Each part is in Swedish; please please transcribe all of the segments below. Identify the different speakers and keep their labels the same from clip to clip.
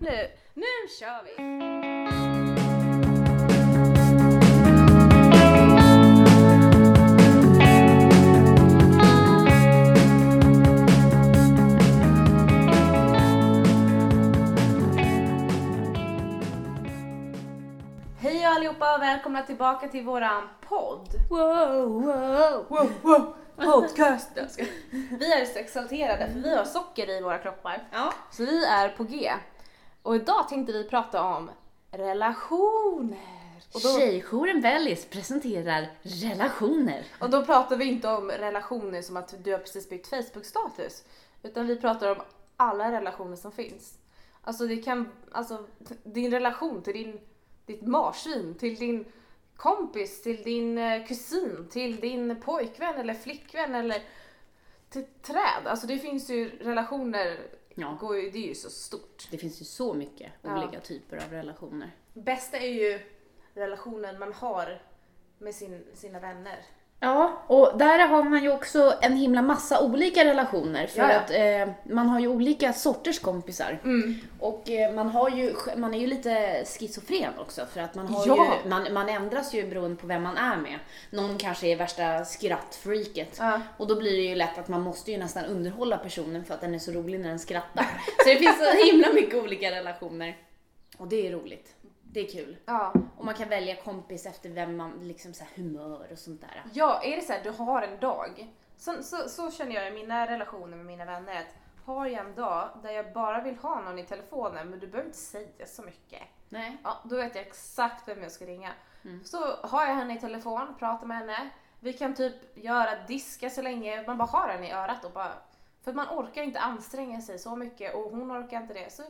Speaker 1: nu. Nu kör vi! Hej allihopa och välkomna tillbaka till våran podd.
Speaker 2: Wow, wow.
Speaker 1: Wow, wow, podcast. vi är så exalterade för vi har socker i våra kroppar.
Speaker 2: Ja.
Speaker 1: Så vi är på G. Och idag tänkte vi prata om relationer. Och då,
Speaker 2: Tjejjouren Bellis presenterar relationer.
Speaker 1: och då pratar vi inte om relationer som att du har precis byggt Facebook-status. Utan vi pratar om alla relationer som finns. Alltså det kan, alltså din relation till din, ditt marsvin, till din kompis, till din eh, kusin, till din pojkvän eller flickvän eller till träd. Alltså det finns ju relationer,
Speaker 2: Ja.
Speaker 1: går ju, det är ju så stort.
Speaker 2: Det finns ju så mycket
Speaker 1: Ja.
Speaker 2: olika typer av relationer.
Speaker 1: Bästa är ju relationen man har med sin, sina vänner.
Speaker 2: Ja, och där har man ju också en himla massa olika relationer för
Speaker 1: Ja, ja. Mm.
Speaker 2: att eh, man har ju olika sorters kompisar. Och eh, man, har ju, man är ju lite schizofren också för att man, har
Speaker 1: Ja.
Speaker 2: ju, man, man ändras ju beroende på vem man är med. Någon kanske är värsta skrattfreaket
Speaker 1: Ja.
Speaker 2: och då blir det ju lätt att man måste ju nästan underhålla personen för att den är så rolig när den skrattar. Så det finns så himla mycket olika relationer. Och det är roligt. Det är kul.
Speaker 1: Ja.
Speaker 2: Och man kan välja kompis efter vem man, liksom så här humör och sånt där.
Speaker 1: ja, är det så här, du har en dag. Så, så, så känner jag i mina relationer med mina vänner att har jag en dag där jag bara vill ha någon i telefonen men du behöver inte säga så mycket.
Speaker 2: Nej.
Speaker 1: Ja, då vet jag exakt vem jag ska ringa. Så har jag henne i telefon, pratar med henne. Vi kan typ göra diska så länge, man bara har henne i örat och bara... För man orkar inte anstränga sig så mycket och hon orkar inte det. Så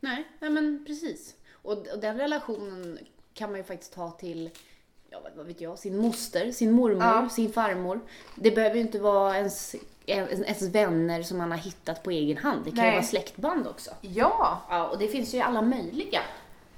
Speaker 2: Nej, nej men precis. Och, och den relationen kan man ju faktiskt ta till, ja, vad- vad vet jag, sin moster, sin mormor,
Speaker 1: Ja.
Speaker 2: sin farmor. Det behöver ju inte vara ens, ens, ens vänner som man har hittat på egen hand. Det kan ju
Speaker 1: Nej.
Speaker 2: vara släktband också.
Speaker 1: ja,
Speaker 2: Ja, och det finns ju alla möjliga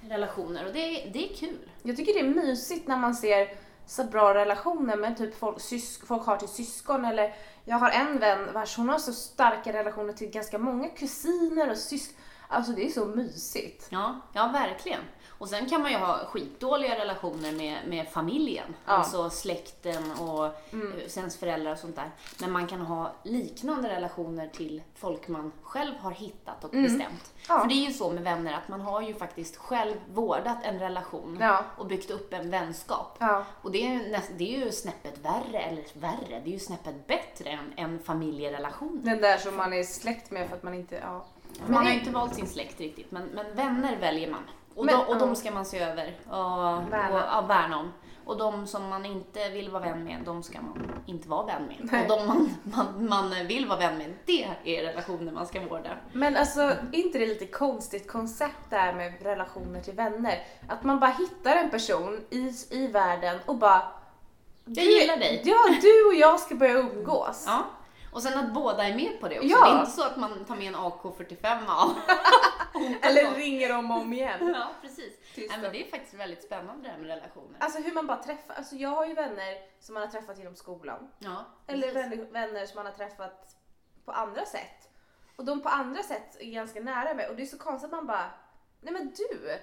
Speaker 2: relationer och det, det är kul.
Speaker 1: Jag tycker det är mysigt när man ser så bra relationer med typ folk, sysk, folk har till syskon eller jag har en vän vars hon har så starka relationer till ganska många kusiner och syskon. Alltså det är så mysigt.
Speaker 2: Ja, ja verkligen. Och sen kan man ju ha skitdåliga relationer med, med familjen,
Speaker 1: Ja.
Speaker 2: alltså släkten och mm. ens föräldrar och sånt där. Men man kan ha liknande relationer till folk man själv har hittat och bestämt.
Speaker 1: Mm. Ja.
Speaker 2: För det är ju så med vänner att man har ju faktiskt själv vårdat en relation
Speaker 1: Ja.
Speaker 2: och byggt upp en vänskap.
Speaker 1: Ja.
Speaker 2: Och det är, ju näst, det är ju snäppet värre, eller värre, det är ju snäppet bättre än, än familjerelationer.
Speaker 1: Den där som man är släkt med för att man inte, ja.
Speaker 2: Man har
Speaker 1: det-
Speaker 2: ju inte valt sin släkt riktigt, men, men vänner väljer man. Och,
Speaker 1: Men,
Speaker 2: de, och
Speaker 1: ja.
Speaker 2: de ska man se över och, och
Speaker 1: Värna.
Speaker 2: ja, värna om. Och de som man inte vill vara vän med, de ska man inte vara vän med.
Speaker 1: Nej.
Speaker 2: Och de man, man, man vill vara vän med, det är relationer man ska vårda.
Speaker 1: Men alltså, är inte det lite konstigt koncept det här med relationer till vänner? Att man bara hittar en person i, i världen och bara...
Speaker 2: Jag gillar dig.
Speaker 1: Ja, du och jag ska börja umgås.
Speaker 2: Ja. Och sen att båda är med på det också.
Speaker 1: Ja.
Speaker 2: Det är inte så att man tar med en AK45 av.
Speaker 1: Eller ringer om och om igen.
Speaker 2: Ja, precis.
Speaker 1: Tyst
Speaker 2: Nej,
Speaker 1: då.
Speaker 2: men det är faktiskt väldigt spännande det här med relationer.
Speaker 1: Alltså hur man bara träffar, alltså jag har ju vänner som man har träffat genom skolan.
Speaker 2: Ja,
Speaker 1: Eller
Speaker 2: precis.
Speaker 1: vänner, vänner som man har träffat på andra sätt. Och de på andra sätt är ganska nära mig och det är så konstigt att man bara, nej men du,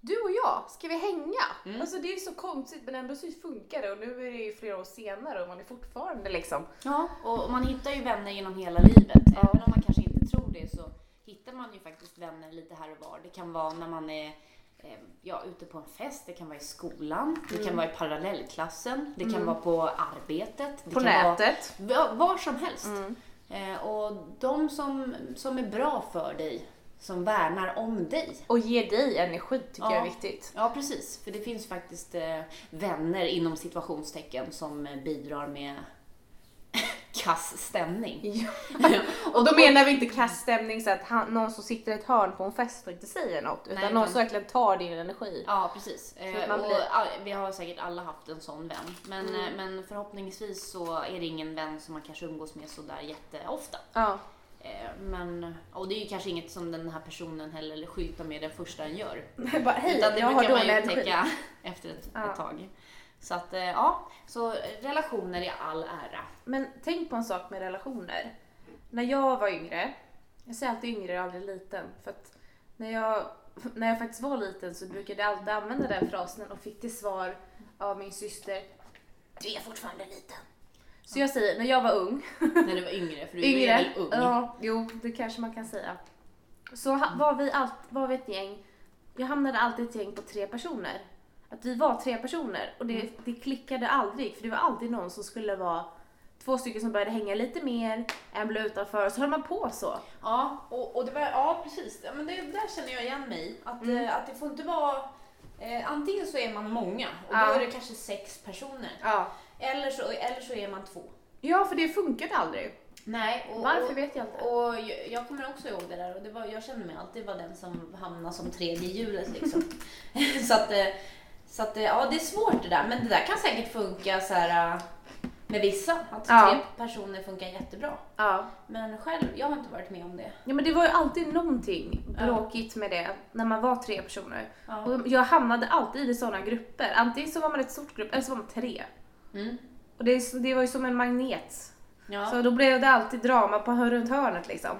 Speaker 1: du och jag, ska vi hänga? Alltså det är ju så konstigt men ändå så funkar det och nu är det ju flera år senare och man är fortfarande liksom.
Speaker 2: Ja, och man hittar ju vänner genom hela livet.
Speaker 1: Ja.
Speaker 2: Även om man kanske inte tror det så hittar man ju faktiskt vänner lite här och var. Det kan vara när man är eh, ja, ute på en fest, det kan vara i skolan, det
Speaker 1: Mm.
Speaker 2: kan vara i parallellklassen, det kan vara på arbetet. Det
Speaker 1: På
Speaker 2: kan
Speaker 1: nätet. Mm.
Speaker 2: Vara, va- var som helst. Eh, och de som, som är bra för dig, som värnar om dig,
Speaker 1: Och ger dig energi tycker
Speaker 2: Ja.
Speaker 1: jag är viktigt.
Speaker 2: Ja, precis. För det finns faktiskt eh, vänner inom situationstecken som eh, bidrar med kass stämning.
Speaker 1: Ja.
Speaker 2: och
Speaker 1: Då menar vi inte kaststämning så att han, någon som sitter i ett hörn på en fest och inte säger något utan
Speaker 2: Nej,
Speaker 1: någon
Speaker 2: utan-
Speaker 1: som verkligen tar din energi.
Speaker 2: Ja, precis.
Speaker 1: att
Speaker 2: Eh,
Speaker 1: man
Speaker 2: och
Speaker 1: blir- Mm.
Speaker 2: all, vi har säkert alla haft en sån vän. Men, eh, men förhoppningsvis så är det ingen vän som man kanske umgås med sådär jätteofta.
Speaker 1: Ja.
Speaker 2: Eh, men, och det är ju kanske inget som den här personen heller skyltar med den första den gör.
Speaker 1: Jag bara, hej,
Speaker 2: Utan det
Speaker 1: jag har
Speaker 2: brukar man
Speaker 1: dålig
Speaker 2: ju
Speaker 1: energi.
Speaker 2: upptäcka efter ett,
Speaker 1: Ja.
Speaker 2: ett tag. Så att, eh, ja. Så relationer i all ära.
Speaker 1: Men tänk på en sak med relationer. När jag var yngre, jag säger alltid yngre och aldrig liten, för att När jag, när jag faktiskt var liten så brukade jag alltid använda den frasen och fick till svar av min syster Du är fortfarande liten. Så jag säger, när jag var ung,
Speaker 2: När du var yngre, för du yngre. är
Speaker 1: yngre,
Speaker 2: väl ung?
Speaker 1: ja, jo det kanske man kan säga. Så ha, var, vi allt, var vi ett gäng, jag hamnade alltid i ett gäng på tre personer. Att vi var tre personer och
Speaker 2: Mm.
Speaker 1: det, det klickade aldrig för det var alltid någon som skulle vara två stycken som började hänga lite mer, en blev utanför och så höll man på så.
Speaker 2: Ja, och, och det var, ja precis. Ja, Men det, där känner jag igen mig i. Att,
Speaker 1: Mm.
Speaker 2: eh, att det får inte vara... Eh, antingen så är man många och
Speaker 1: Ja.
Speaker 2: då är det kanske sex personer.
Speaker 1: Ja.
Speaker 2: Eller så, eller så är man två.
Speaker 1: Ja, för det funkade aldrig.
Speaker 2: Nej, och,
Speaker 1: Varför vet jag inte.
Speaker 2: Och jag- jag kommer också ihåg det där och det var, jag kände mig alltid vara den som hamnade som tredje i hjulet liksom. så att, eh, så att eh, ja, det är svårt det där. Men det där kan säkert funka så här eh, med vissa. Att
Speaker 1: Ja.
Speaker 2: tre personer funkar jättebra.
Speaker 1: Ja.
Speaker 2: Men själv, jag har inte varit med om det.
Speaker 1: ja, men det var ju alltid någonting
Speaker 2: Ja.
Speaker 1: bråkigt med det när man var tre personer.
Speaker 2: Ja.
Speaker 1: Och jag hamnade alltid i sådana grupper. Antingen så var man ett stort grupp eller så var man tre.
Speaker 2: Mm.
Speaker 1: Och det, är så- det var ju som en magnet.
Speaker 2: Ja.
Speaker 1: Så då blev det alltid drama på hör- runt hörnet liksom.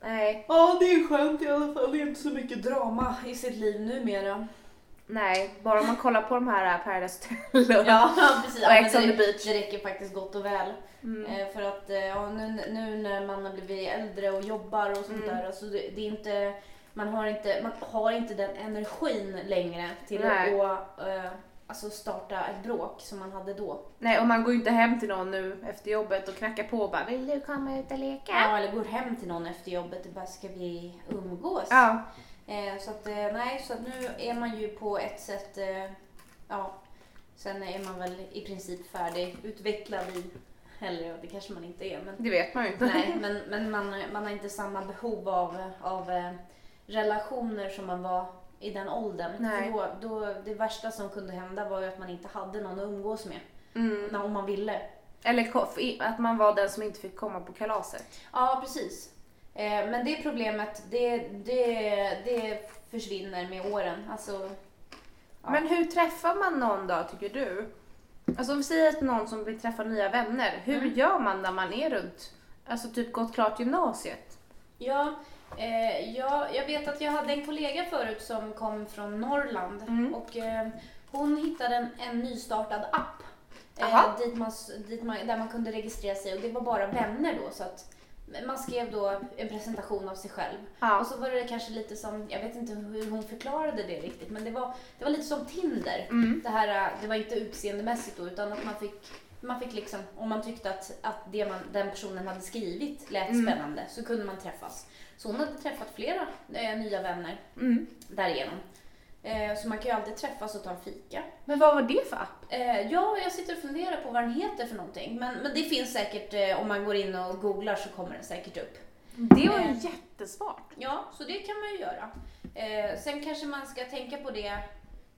Speaker 1: Nej,
Speaker 2: Ja, det är skönt i alla fall. Det är inte så mycket drama i sitt liv numera.
Speaker 1: nej, bara om man kollar på de här äh, Paradise Hotel och-
Speaker 2: Ja, precis. Ja,
Speaker 1: Och
Speaker 2: men
Speaker 1: Ex on
Speaker 2: det-
Speaker 1: the beach.
Speaker 2: Det räcker faktiskt gott och väl.
Speaker 1: Mm.
Speaker 2: Eh, För att eh, ja, nu, nu när man har blivit äldre och jobbar och sånt
Speaker 1: Mm.
Speaker 2: där, alltså det, det är inte, man, har inte, man har inte den energin längre till
Speaker 1: Nej.
Speaker 2: att eh, alltså starta ett bråk som man hade då.
Speaker 1: Nej, och man går ju inte hem till någon nu efter jobbet och knackar på och bara Vill du komma ut och leka?
Speaker 2: Ja, eller går hem till någon efter jobbet och bara ska vi umgås?
Speaker 1: ja.
Speaker 2: Eh, så att, eh, nej, så att nu är man ju på ett sätt, eh, ja, sen är man väl i princip färdig, utvecklad i, eller ja, det kanske man inte är, men
Speaker 1: det vet man ju inte.
Speaker 2: Nej, men, men man, man har inte samma behov av, av eh, relationer som man var i den åldern.
Speaker 1: Nej.
Speaker 2: För Då, då, det värsta som kunde hända var ju att man inte hade någon att umgås med.
Speaker 1: Mm.
Speaker 2: Om man ville.
Speaker 1: Eller ko- f- att man var den som inte fick komma på kalaset.
Speaker 2: Ja, precis. Eh, men det problemet, det, det, det försvinner med åren. Alltså, Ja.
Speaker 1: Men hur träffar man någon då, tycker du? Alltså om vi säger att någon som vill träffa nya vänner, hur
Speaker 2: Mm.
Speaker 1: gör man när man är runt, alltså typ gått klart gymnasiet?
Speaker 2: Ja, eh, jag, jag vet att jag hade en kollega förut som kom från Norrland
Speaker 1: Mm.
Speaker 2: och eh, hon hittade en, en nystartad app
Speaker 1: Aha.
Speaker 2: eh, dit man, s- dit man, där man kunde registrera sig och det var bara vänner då så att man skrev då en presentation av sig själv.
Speaker 1: Ja.
Speaker 2: Och så var det kanske lite som, jag vet inte hur hon förklarade det riktigt, men det var, det var lite som Tinder.
Speaker 1: Mm.
Speaker 2: Det, här, eh, det var inte utseendemässigt då, utan att man fick, man fick liksom, om man tyckte att, att det man, den personen hade skrivit lät
Speaker 1: Mm.
Speaker 2: spännande så kunde man träffas. Så hon hade träffat flera eh, nya vänner
Speaker 1: Mm.
Speaker 2: därigenom. Eh, så man kan ju alltid träffas och ta en fika.
Speaker 1: Men vad var det för app?
Speaker 2: Eh, ja, jag sitter och funderar på vad den heter för någonting. Men, men det finns säkert, eh, om man går in och googlar så kommer den säkert upp.
Speaker 1: Det var ju
Speaker 2: Eh.
Speaker 1: jättesvårt.
Speaker 2: Ja, så det kan man ju göra. Eh, sen kanske man ska tänka på det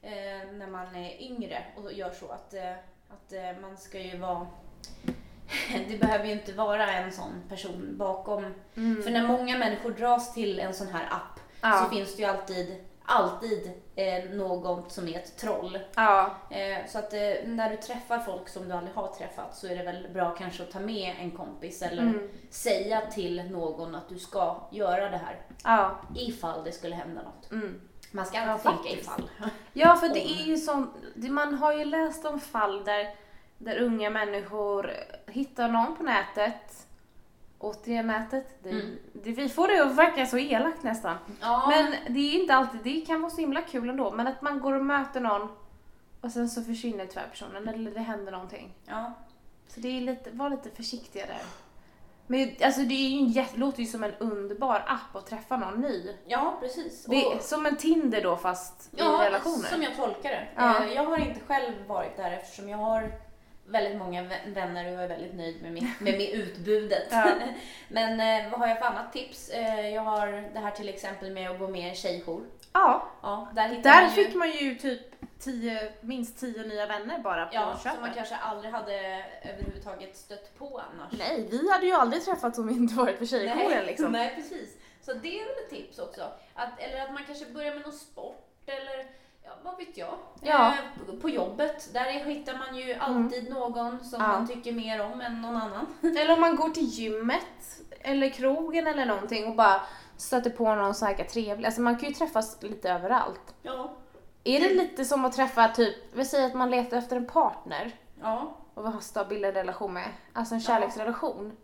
Speaker 2: eh, när man är yngre och gör så att, eh, att eh, man ska ju vara... det behöver ju inte vara en sån person bakom.
Speaker 1: Mm.
Speaker 2: För när många människor dras till en sån här app
Speaker 1: Ja.
Speaker 2: så finns det ju alltid, alltid eh, något som är ett troll.
Speaker 1: Ja.
Speaker 2: Eh, så att eh, när du träffar folk som du aldrig har träffat så är det väl bra kanske att ta med en kompis eller
Speaker 1: Mm.
Speaker 2: säga till någon att du ska göra det här.
Speaker 1: Ja.
Speaker 2: Ifall det skulle hända något.
Speaker 1: Mm.
Speaker 2: Man ska
Speaker 1: Ja,
Speaker 2: alltid tänka
Speaker 1: faktiskt.
Speaker 2: ifall.
Speaker 1: Ja, för det är ju sånt. det- Man har ju läst om fall där, där unga människor hittar någon på nätet. Återigen nätet. Det,
Speaker 2: Mm.
Speaker 1: det, vi får det att verka så elakt nästan.
Speaker 2: Ja, men,
Speaker 1: Men det är inte alltid, det kan vara så himla kul ändå. Men att man går och möter någon och sen så försvinner tyvärr personen eller det händer någonting.
Speaker 2: ja.
Speaker 1: Så det är lite, var lite försiktiga där. Men alltså det är ju en, jä- låter ju som en underbar app att träffa någon ny.
Speaker 2: ja precis.
Speaker 1: Det är
Speaker 2: Och-
Speaker 1: som en Tinder då fast
Speaker 2: ja,
Speaker 1: i relationer.
Speaker 2: som jag tolkar det.
Speaker 1: Ja.
Speaker 2: Eh, Jag har inte själv varit där eftersom jag har väldigt många vä- vänner och jag är väldigt nöjd med, mitt, med, med utbudet.
Speaker 1: Ja.
Speaker 2: Men eh, vad har jag för annat tips? Eh, jag har det här till exempel med att gå med i tjejjour.
Speaker 1: Ja,
Speaker 2: Ja, där hittar
Speaker 1: där
Speaker 2: man ju,
Speaker 1: fick man ju typ tio, minst tio nya vänner bara på
Speaker 2: Ja, som
Speaker 1: köpet.
Speaker 2: man kanske aldrig hade överhuvudtaget stött på annars.
Speaker 1: Nej, vi hade ju aldrig träffats om vi inte varit för tjejjouren
Speaker 2: Nej,
Speaker 1: liksom.
Speaker 2: Nej, precis. Så det är väl ett tips också. Att, eller att man kanske börjar med någon sport eller ja, vad vet jag.
Speaker 1: Ja. Mm.
Speaker 2: Eh, på- på jobbet, där är- hittar man ju alltid någon som
Speaker 1: Ja.
Speaker 2: man tycker mer om än någon annan.
Speaker 1: Eller om man går till gymmet eller krogen eller någonting och bara stöter på någon så här trevlig. Alltså man kan ju träffas lite överallt.
Speaker 2: Ja.
Speaker 1: Är det lite som att träffa typ, vi säger att man letar efter en partner
Speaker 2: Ja.
Speaker 1: och vill ha stabil en relation med, alltså en
Speaker 2: Ja.
Speaker 1: kärleksrelation.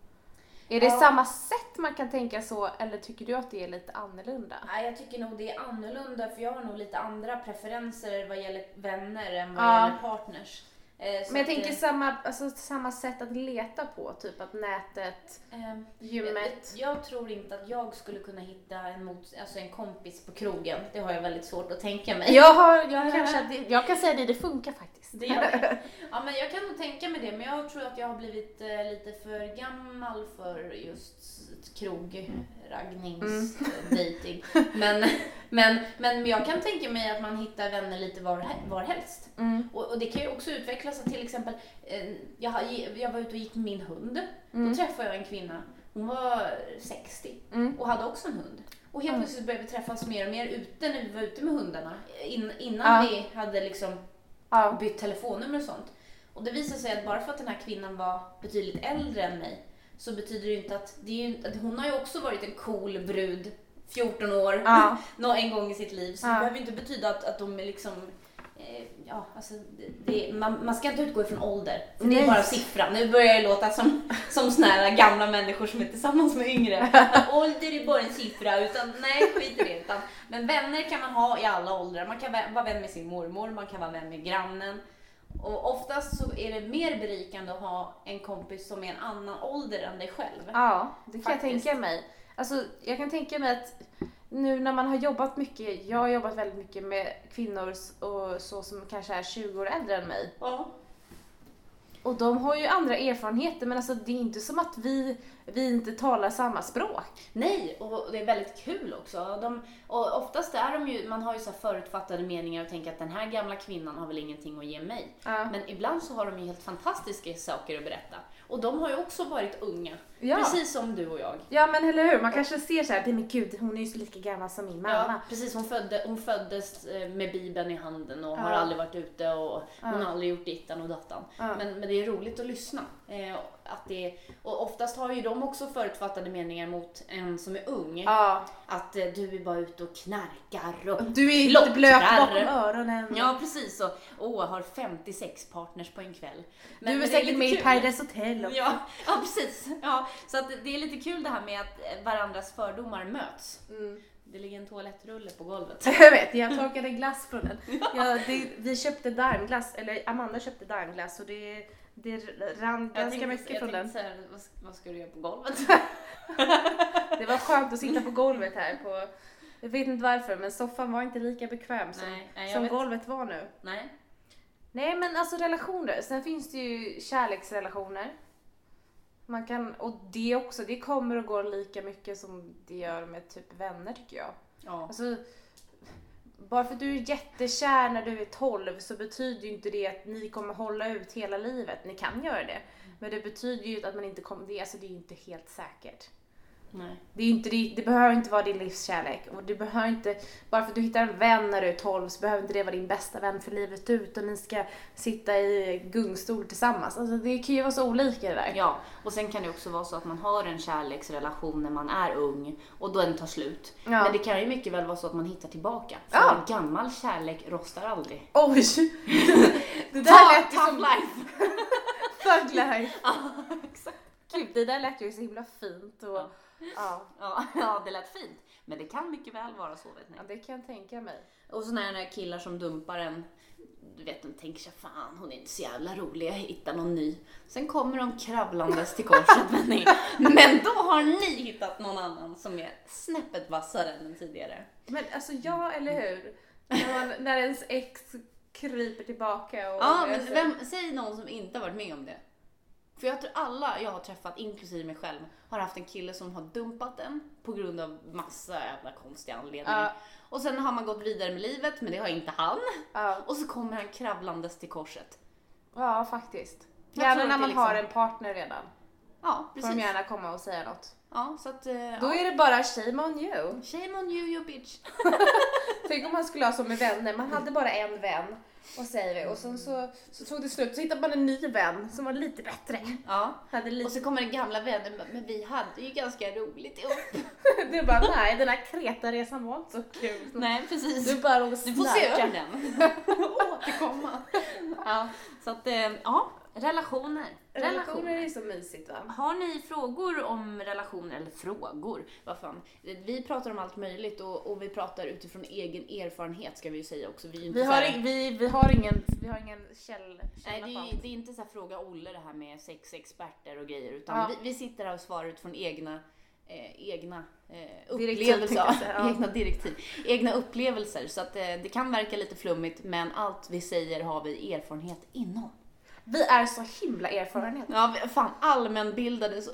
Speaker 1: Är det
Speaker 2: Ja.
Speaker 1: samma sätt man kan tänka så eller tycker du att det är lite annorlunda?
Speaker 2: Nej, jag tycker nog det är annorlunda för jag har nog lite andra preferenser vad gäller vänner än vad
Speaker 1: Ja.
Speaker 2: gäller partners. Eh, så
Speaker 1: Men jag
Speaker 2: att,
Speaker 1: tänker
Speaker 2: eh,
Speaker 1: samma, alltså, samma sätt att leta på, typ att nätet,
Speaker 2: ehm,
Speaker 1: gymmet.
Speaker 2: Jag, jag tror inte att jag skulle kunna hitta en, mot, alltså en kompis på krogen. Det har jag väldigt svårt att tänka mig.
Speaker 1: Jag, har, jag, kanske, att det- jag kan säga det, det funkar faktiskt.
Speaker 2: Det gör det. Ja, men jag kan nog tänka mig det, men jag tror att jag har blivit eh, lite för gammal för just
Speaker 1: Mm.
Speaker 2: krograngnings dating. Men, men, men jag kan tänka mig att man hittar vänner lite var, var helst.
Speaker 1: Mm.
Speaker 2: Och, och det kan ju också utvecklas att till exempel, eh, jag, har- jag var ute och gick med min hund. Då träffade jag en kvinna, hon var 60
Speaker 1: Mm.
Speaker 2: och hade också en hund. Och helt
Speaker 1: Mm.
Speaker 2: plötsligt började vi träffas mer och mer ute när vi var ute med hundarna. In, innan
Speaker 1: Ja.
Speaker 2: vi hade liksom
Speaker 1: Ja.
Speaker 2: bytt telefonnummer och sånt. Och det visar sig att bara för att den här kvinnan var betydligt äldre än mig så betyder det ju inte att, det är ju, att hon har ju också varit en cool brud, 14 år,
Speaker 1: Ja.
Speaker 2: nå en gång i sitt liv. Så
Speaker 1: Ja.
Speaker 2: det behöver ju inte betyda att, att de är liksom eh, Ja, alltså det, det, man, man ska inte utgå ifrån ålder, för det
Speaker 1: Nej.
Speaker 2: är bara siffran. Nu börjar jag låta som, som såna här gamla människor som är tillsammans med yngre. Att ålder är bara en siffra, utan nej skit i det. Utan, men vänner kan man ha i alla åldrar. Man kan vä- vara vän med sin mormor, man kan vara vän med grannen. Och oftast så är det mer berikande att ha en kompis som är en annan ålder än dig själv.
Speaker 1: Ja, det kan jag
Speaker 2: Faktiskt.
Speaker 1: tänka mig. Alltså, jag kan tänka mig att nu när man har jobbat mycket, jag har jobbat väldigt mycket med kvinnor s- och så som kanske är 20 år äldre än mig.
Speaker 2: Ja.
Speaker 1: Och de har ju andra erfarenheter men alltså det är inte som att vi, vi inte talar samma språk.
Speaker 2: Nej, och det är väldigt kul också. De, och oftast är de ju, man har ju så här förutfattade meningar och tänker att den här gamla kvinnan har väl ingenting att ge mig.
Speaker 1: Ja.
Speaker 2: Men ibland så har de ju helt fantastiska saker att berätta. Och de har ju också varit unga,
Speaker 1: Ja.
Speaker 2: precis som du och jag.
Speaker 1: Ja men eller hur, man kanske ser så här, "Nej, men gud hon är ju så lika gammal som min mamma.
Speaker 2: precis, hon, födde, hon föddes eh, med bibeln i handen och har
Speaker 1: Ja.
Speaker 2: aldrig varit ute och hon
Speaker 1: Ja.
Speaker 2: har aldrig gjort dittan och dattan.
Speaker 1: Ja.
Speaker 2: Men, men det är roligt att lyssna. Eh, att det, och oftast har ju de också förutfattade meningar mot en som är ung.
Speaker 1: Ja.
Speaker 2: Att eh, du är bara ute och knarkar och
Speaker 1: Du är inte
Speaker 2: klottrar.
Speaker 1: blöt bakom öronen.
Speaker 2: Ja precis, och åh, har 56 partners på en kväll. Men-
Speaker 1: du är
Speaker 2: men det
Speaker 1: säkert
Speaker 2: lite
Speaker 1: med i
Speaker 2: kul.
Speaker 1: Paradise Hotel också.
Speaker 2: Ja, ja precis. Ja, så att det är lite kul det här med att eh, varandras fördomar möts.
Speaker 1: Mm.
Speaker 2: Det ligger en toalettrulle på golvet.
Speaker 1: Jag vet, jag torkade glass från den. Ja, det, vi köpte daimglass, eller Amanda köpte daimglass och det, det rann ganska mycket från den.
Speaker 2: Så här, vad, ska- vad ska du göra på golvet?
Speaker 1: Det var skönt att sitta på golvet här på, jag vet inte varför men soffan var inte lika bekväm som,
Speaker 2: Nej, nej, jag
Speaker 1: som
Speaker 2: vet.
Speaker 1: golvet var nu.
Speaker 2: Nej.
Speaker 1: Nej men alltså relationer, sen finns det ju kärleksrelationer. Man kan, och det också, det kommer och går lika mycket som det gör med typ vänner tycker jag.
Speaker 2: Ja.
Speaker 1: Alltså, bara för att du är jättekär när du är 12 så betyder ju inte det att ni kommer hålla ut hela livet. Ni kan göra det. Men det betyder ju att man inte kommer, det, alltså det är ju inte helt säkert.
Speaker 2: Nej.
Speaker 1: Det, är ju inte, det, det behöver inte vara din livskärlek. Och det behöver inte, bara för att du hittar en vän när du är 12 så behöver inte det vara din bästa vän för livet ut och ni ska sitta i gungstol tillsammans. Alltså det kan ju vara så olika det där.
Speaker 2: Ja, och sen kan det också vara så att man har en kärleksrelation när man är ung och då den tar slut.
Speaker 1: Ja.
Speaker 2: Men det kan ju mycket väl vara så att man hittar tillbaka. För
Speaker 1: Ja.
Speaker 2: gammal kärlek rostar aldrig.
Speaker 1: Oj! Det där lät ju
Speaker 2: Tough
Speaker 1: som
Speaker 2: life!
Speaker 1: Thug life.
Speaker 2: Ja, exakt.
Speaker 1: Gud, det där lät ju så himla fint och
Speaker 2: Ja.
Speaker 1: ja.
Speaker 2: Ja, ja, det lät fint. Men det kan mycket väl vara så vet ni.
Speaker 1: Ja, det kan jag tänka mig.
Speaker 2: Och såna här killar som dumpar en. Du vet, de tänker sig fan hon är inte så jävla rolig, jag hittar någon ny. Sen kommer de kravlandes till korset men, ni, men då har ni hittat någon annan som är snäppet vassare än den tidigare.
Speaker 1: Men alltså ja,
Speaker 2: Mm.
Speaker 1: eller hur? När, man, när ens ex kryper tillbaka och...
Speaker 2: Ja, men vem, säg någon som inte har varit med om det. För jag tror alla jag har träffat, inklusive mig själv, har haft en kille som har dumpat en på grund av massa jävla konstiga anledningar.
Speaker 1: Ja.
Speaker 2: Och sen har man gått vidare med livet, men det har inte han.
Speaker 1: Ja,
Speaker 2: Och så kommer han kravlandes till korset.
Speaker 1: ja faktiskt.
Speaker 2: Jag
Speaker 1: Gärna
Speaker 2: tror
Speaker 1: när
Speaker 2: att
Speaker 1: man
Speaker 2: det
Speaker 1: har
Speaker 2: liksom-
Speaker 1: en partner redan.
Speaker 2: Ja,
Speaker 1: får de
Speaker 2: precis.
Speaker 1: gärna komma och säga något.
Speaker 2: Ja, så att... eh,
Speaker 1: Då
Speaker 2: Ja.
Speaker 1: är det bara shame on you.
Speaker 2: Shame on you, you bitch.
Speaker 1: Tänk om man skulle ha som med vänner, man hade bara en vän och säger vi och sen så, så tog det slut så hittade man en ny vän som var lite bättre.
Speaker 2: Ja.
Speaker 1: Hade
Speaker 2: Och
Speaker 1: lite...
Speaker 2: så kommer den gamla vännen bara, men vi hade ju ganska roligt ihop.
Speaker 1: Du bara nej den här Kreta-resan var inte så kul.
Speaker 2: Nej, precis.
Speaker 1: Du bara låg och
Speaker 2: Du får se
Speaker 1: snarkade.
Speaker 2: över den. Återkomma. Ja, så att, eh, ja, relationer.
Speaker 1: Relationer är så mysigt va?
Speaker 2: Har ni frågor om relationer, eller frågor, vad fan. Vi pratar om allt möjligt och, och vi pratar utifrån egen erfarenhet ska vi ju säga också. Vi, är ju inte
Speaker 1: Vi
Speaker 2: så
Speaker 1: har,
Speaker 2: här-
Speaker 1: ing- vi, vi har ingen, vi har ingen käll,
Speaker 2: Nej,
Speaker 1: källa
Speaker 2: det
Speaker 1: på
Speaker 2: är, ju-
Speaker 1: allt.
Speaker 2: det är inte så här fråga Olle det här med sexexperter och grejer utan
Speaker 1: Ja.
Speaker 2: vi, vi sitter här och svarar utifrån egna eh, egna eh,
Speaker 1: Direktiv, tänkte jag
Speaker 2: upplevelser,
Speaker 1: säga, ja.
Speaker 2: egna direktiv, egna upplevelser. Så att eh, det kan verka lite flummigt men allt vi säger har vi erfarenhet inom.
Speaker 1: Vi är så himla erfarna.
Speaker 2: Ja, vi- fan allmänbildade så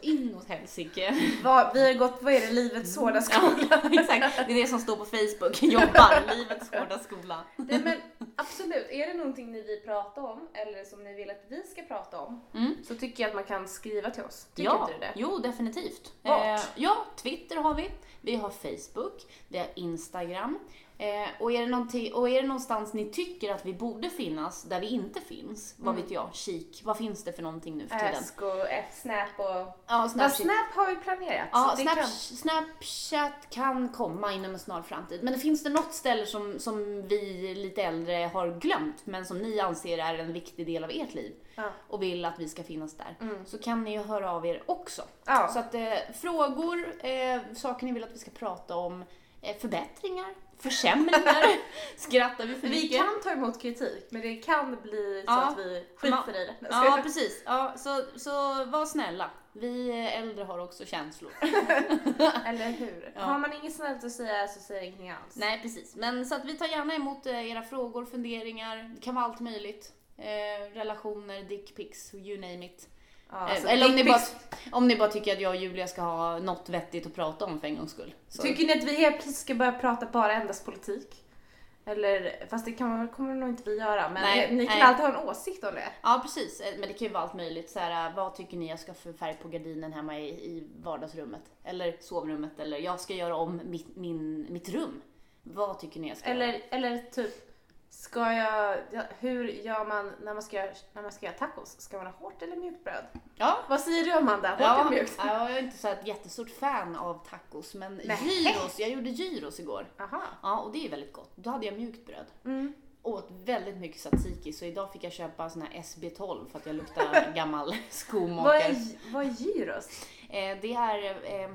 Speaker 2: inåt helsike.
Speaker 1: Vad- Vi har gått, vad är det, livets hårda skola?
Speaker 2: Ja, Exakt, det är det som står på Facebook. Jobbar, livets hårda skola.
Speaker 1: Nej men absolut, är det någonting ni vill prata om eller som ni vill att vi ska prata om
Speaker 2: Mm.
Speaker 1: så tycker jag att man kan skriva till oss. Tycker
Speaker 2: ja,
Speaker 1: inte du det?
Speaker 2: Jo, definitivt. Eh,
Speaker 1: Vart?
Speaker 2: ja, Twitter har vi. Vi har Facebook. Vi har Instagram. Eh, och, är det någonting- och är det någonstans ni tycker att vi borde finnas där vi inte finns, vad
Speaker 1: Mm.
Speaker 2: vet jag, kik. Vad finns det för någonting nu för tiden?
Speaker 1: Ask och F- Snap och...
Speaker 2: Ja,
Speaker 1: Snap,
Speaker 2: Snapchat.
Speaker 1: Snap har vi planerat.
Speaker 2: Ja,
Speaker 1: så det
Speaker 2: Snap,
Speaker 1: kan-
Speaker 2: Snapchat kan komma inom en snar framtid. Men finns det något ställe som, som vi lite äldre har glömt, men som ni anser är en viktig del av ert liv
Speaker 1: Ja.
Speaker 2: och vill att vi ska finnas där, så kan ni ju höra av er också.
Speaker 1: Mm. Ja.
Speaker 2: Så att eh, frågor, eh, saker ni vill att vi ska prata om, eh, förbättringar, försämringar, skrattar vi för
Speaker 1: Vi
Speaker 2: mycket?
Speaker 1: kan ta emot kritik men det kan bli så
Speaker 2: Ja.
Speaker 1: att vi skiter i det.
Speaker 2: Ja, precis. Ja, så, så var snälla. Vi äldre har också känslor.
Speaker 1: Eller hur?
Speaker 2: Ja.
Speaker 1: Har man inget snällt att säga så säger ingenting alls.
Speaker 2: Nej, precis. Men så att vi tar gärna emot eh, era frågor, funderingar. Det kan vara allt möjligt. Eh, relationer, dickpics, you name it.
Speaker 1: Ja,
Speaker 2: Eh,
Speaker 1: alltså,
Speaker 2: Eller om ni,
Speaker 1: dick
Speaker 2: bara,
Speaker 1: pics-
Speaker 2: om ni bara tycker att jag och Julia ska ha något vettigt att prata om för en gångs skull. Så.
Speaker 1: Tycker ni att vi helt plötsligt ska börja prata bara endast politik? Eller, fast det kan, man- kommer nog inte vi göra men
Speaker 2: Nej,
Speaker 1: ni kan
Speaker 2: nej.
Speaker 1: alltid ha en åsikt om det.
Speaker 2: Ja, precis. Eh, Men det kan ju vara allt möjligt. Så här, eh, vad tycker ni jag ska för färg på gardinen hemma i, i vardagsrummet? Eller sovrummet? Eller jag ska göra om mitt, min, mitt rum. Vad tycker ni jag ska göra?
Speaker 1: Eller, eller typ, ska jag, ja, hur gör man när man ska, göra- när man ska göra tacos? Ska man ha hårt eller mjukt bröd?
Speaker 2: Ja,
Speaker 1: Vad säger du Amanda? Hårt
Speaker 2: Ja,
Speaker 1: eller mjukt?
Speaker 2: ja, jag är inte så här ett jättestort fan av tacos, men
Speaker 1: Nej.
Speaker 2: gyros, jag gjorde gyros igår.
Speaker 1: Aha.
Speaker 2: Ja, och det är väldigt gott. Då hade jag mjukt bröd.
Speaker 1: Mm.
Speaker 2: Åt väldigt mycket tzatziki, så idag fick jag köpa sån här SB12 för att jag luktar gammal
Speaker 1: Vad är,
Speaker 2: skomakare.
Speaker 1: vad är gyros?
Speaker 2: Eh, det är, eh,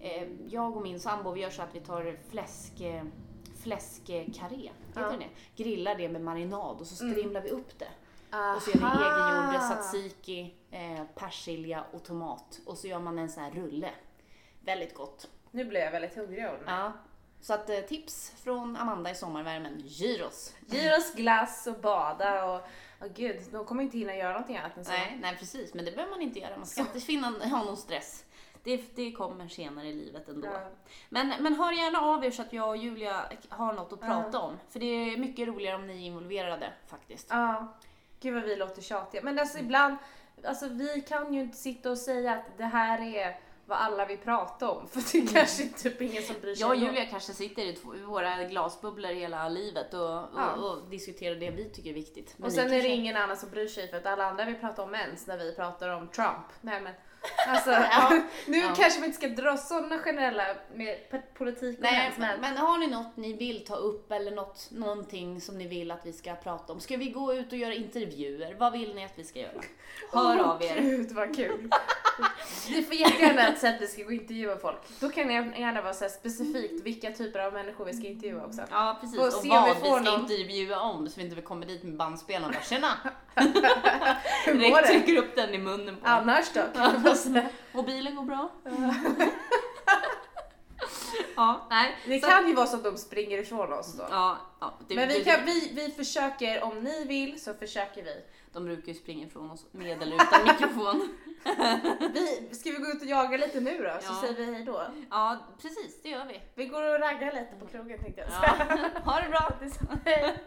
Speaker 2: eh, jag och min sambo, vi gör så att vi tar fläsk, eh, fläskkarré, heter
Speaker 1: Ja. Mm.
Speaker 2: det? Grillar det med marinad och så strimlar vi upp det. Och så gör vi
Speaker 1: Aha.
Speaker 2: egengjord tzatziki, eh, persilja och tomat. Och så gör man en sån här rulle. Väldigt gott.
Speaker 1: Nu blev jag väldigt hungrig av den.
Speaker 2: Ja. Så att eh, tips från Amanda i sommarvärmen, gyros.
Speaker 1: Gyros, glass och bada och, åh gud, de kommer inte hinna göra någonting annat än så.
Speaker 2: Nej, nej precis, men det behöver man inte göra. Man ska inte finna, ha någon stress. Det, det kommer senare i livet ändå.
Speaker 1: Ja.
Speaker 2: Men, men hör gärna av er så att jag och Julia har något att prata om. För det är mycket roligare om ni är involverade faktiskt.
Speaker 1: Ja, gud vad vi låter tjatiga. Men
Speaker 2: Mm.
Speaker 1: alltså ibland, alltså vi kan ju inte sitta och säga att det här är vad alla vill prata om för det är kanske typ ingen som bryr sig.
Speaker 2: Jag och
Speaker 1: ändå.
Speaker 2: Mm. Julia kanske sitter i två- i våra glasbubblor hela livet och, och,
Speaker 1: Ja.
Speaker 2: och diskuterar det vi tycker är viktigt. Men
Speaker 1: och
Speaker 2: ni
Speaker 1: sen är det
Speaker 2: kanske-
Speaker 1: ingen annan som bryr sig för att alla andra vill prata om mens när vi pratar om Trump. Nej men alltså,
Speaker 2: Ja.
Speaker 1: nu
Speaker 2: Ja.
Speaker 1: kanske vi inte ska dra sådana generella med p- politik och
Speaker 2: Nej,
Speaker 1: mens
Speaker 2: men,
Speaker 1: men
Speaker 2: men har ni något ni vill ta upp eller något, någonting som ni vill att vi ska prata om? Ska vi gå ut och göra intervjuer? Vad vill ni att vi ska göra? Hör
Speaker 1: Åh,
Speaker 2: av er.
Speaker 1: Gud vad kul! Ni får jättegärna säga att vi ska gå och intervjua folk. Då kan ni gärna vara så här specifikt vilka typer av människor vi ska intervjua också.
Speaker 2: Ja precis,
Speaker 1: Får
Speaker 2: och,
Speaker 1: se om
Speaker 2: vad
Speaker 1: vi
Speaker 2: vi,
Speaker 1: får
Speaker 2: ska
Speaker 1: någon.
Speaker 2: intervjua om så vi inte kommer dit med bandspelaren och bara tjena!
Speaker 1: Hur mår det?
Speaker 2: Direkt trycker upp den i munnen på honom.
Speaker 1: Annars då?
Speaker 2: Och bilen går bra. ja, nej.
Speaker 1: Det
Speaker 2: så-
Speaker 1: kan ju vara så att de springer ifrån oss då.
Speaker 2: Ja, ja, det,
Speaker 1: Men vi,
Speaker 2: det-
Speaker 1: kan, vi, vi försöker, om ni vill så försöker vi.
Speaker 2: De brukar ju springa ifrån oss med eller utan mikrofon.
Speaker 1: vi ska vi gå ut och jaga lite nu då? Så
Speaker 2: Ja.
Speaker 1: säger vi hej då.
Speaker 2: Ja, precis det gör vi.
Speaker 1: Vi går och raggar lite på krogen tänkte jag
Speaker 2: Ja. Ha det bra!
Speaker 1: säga.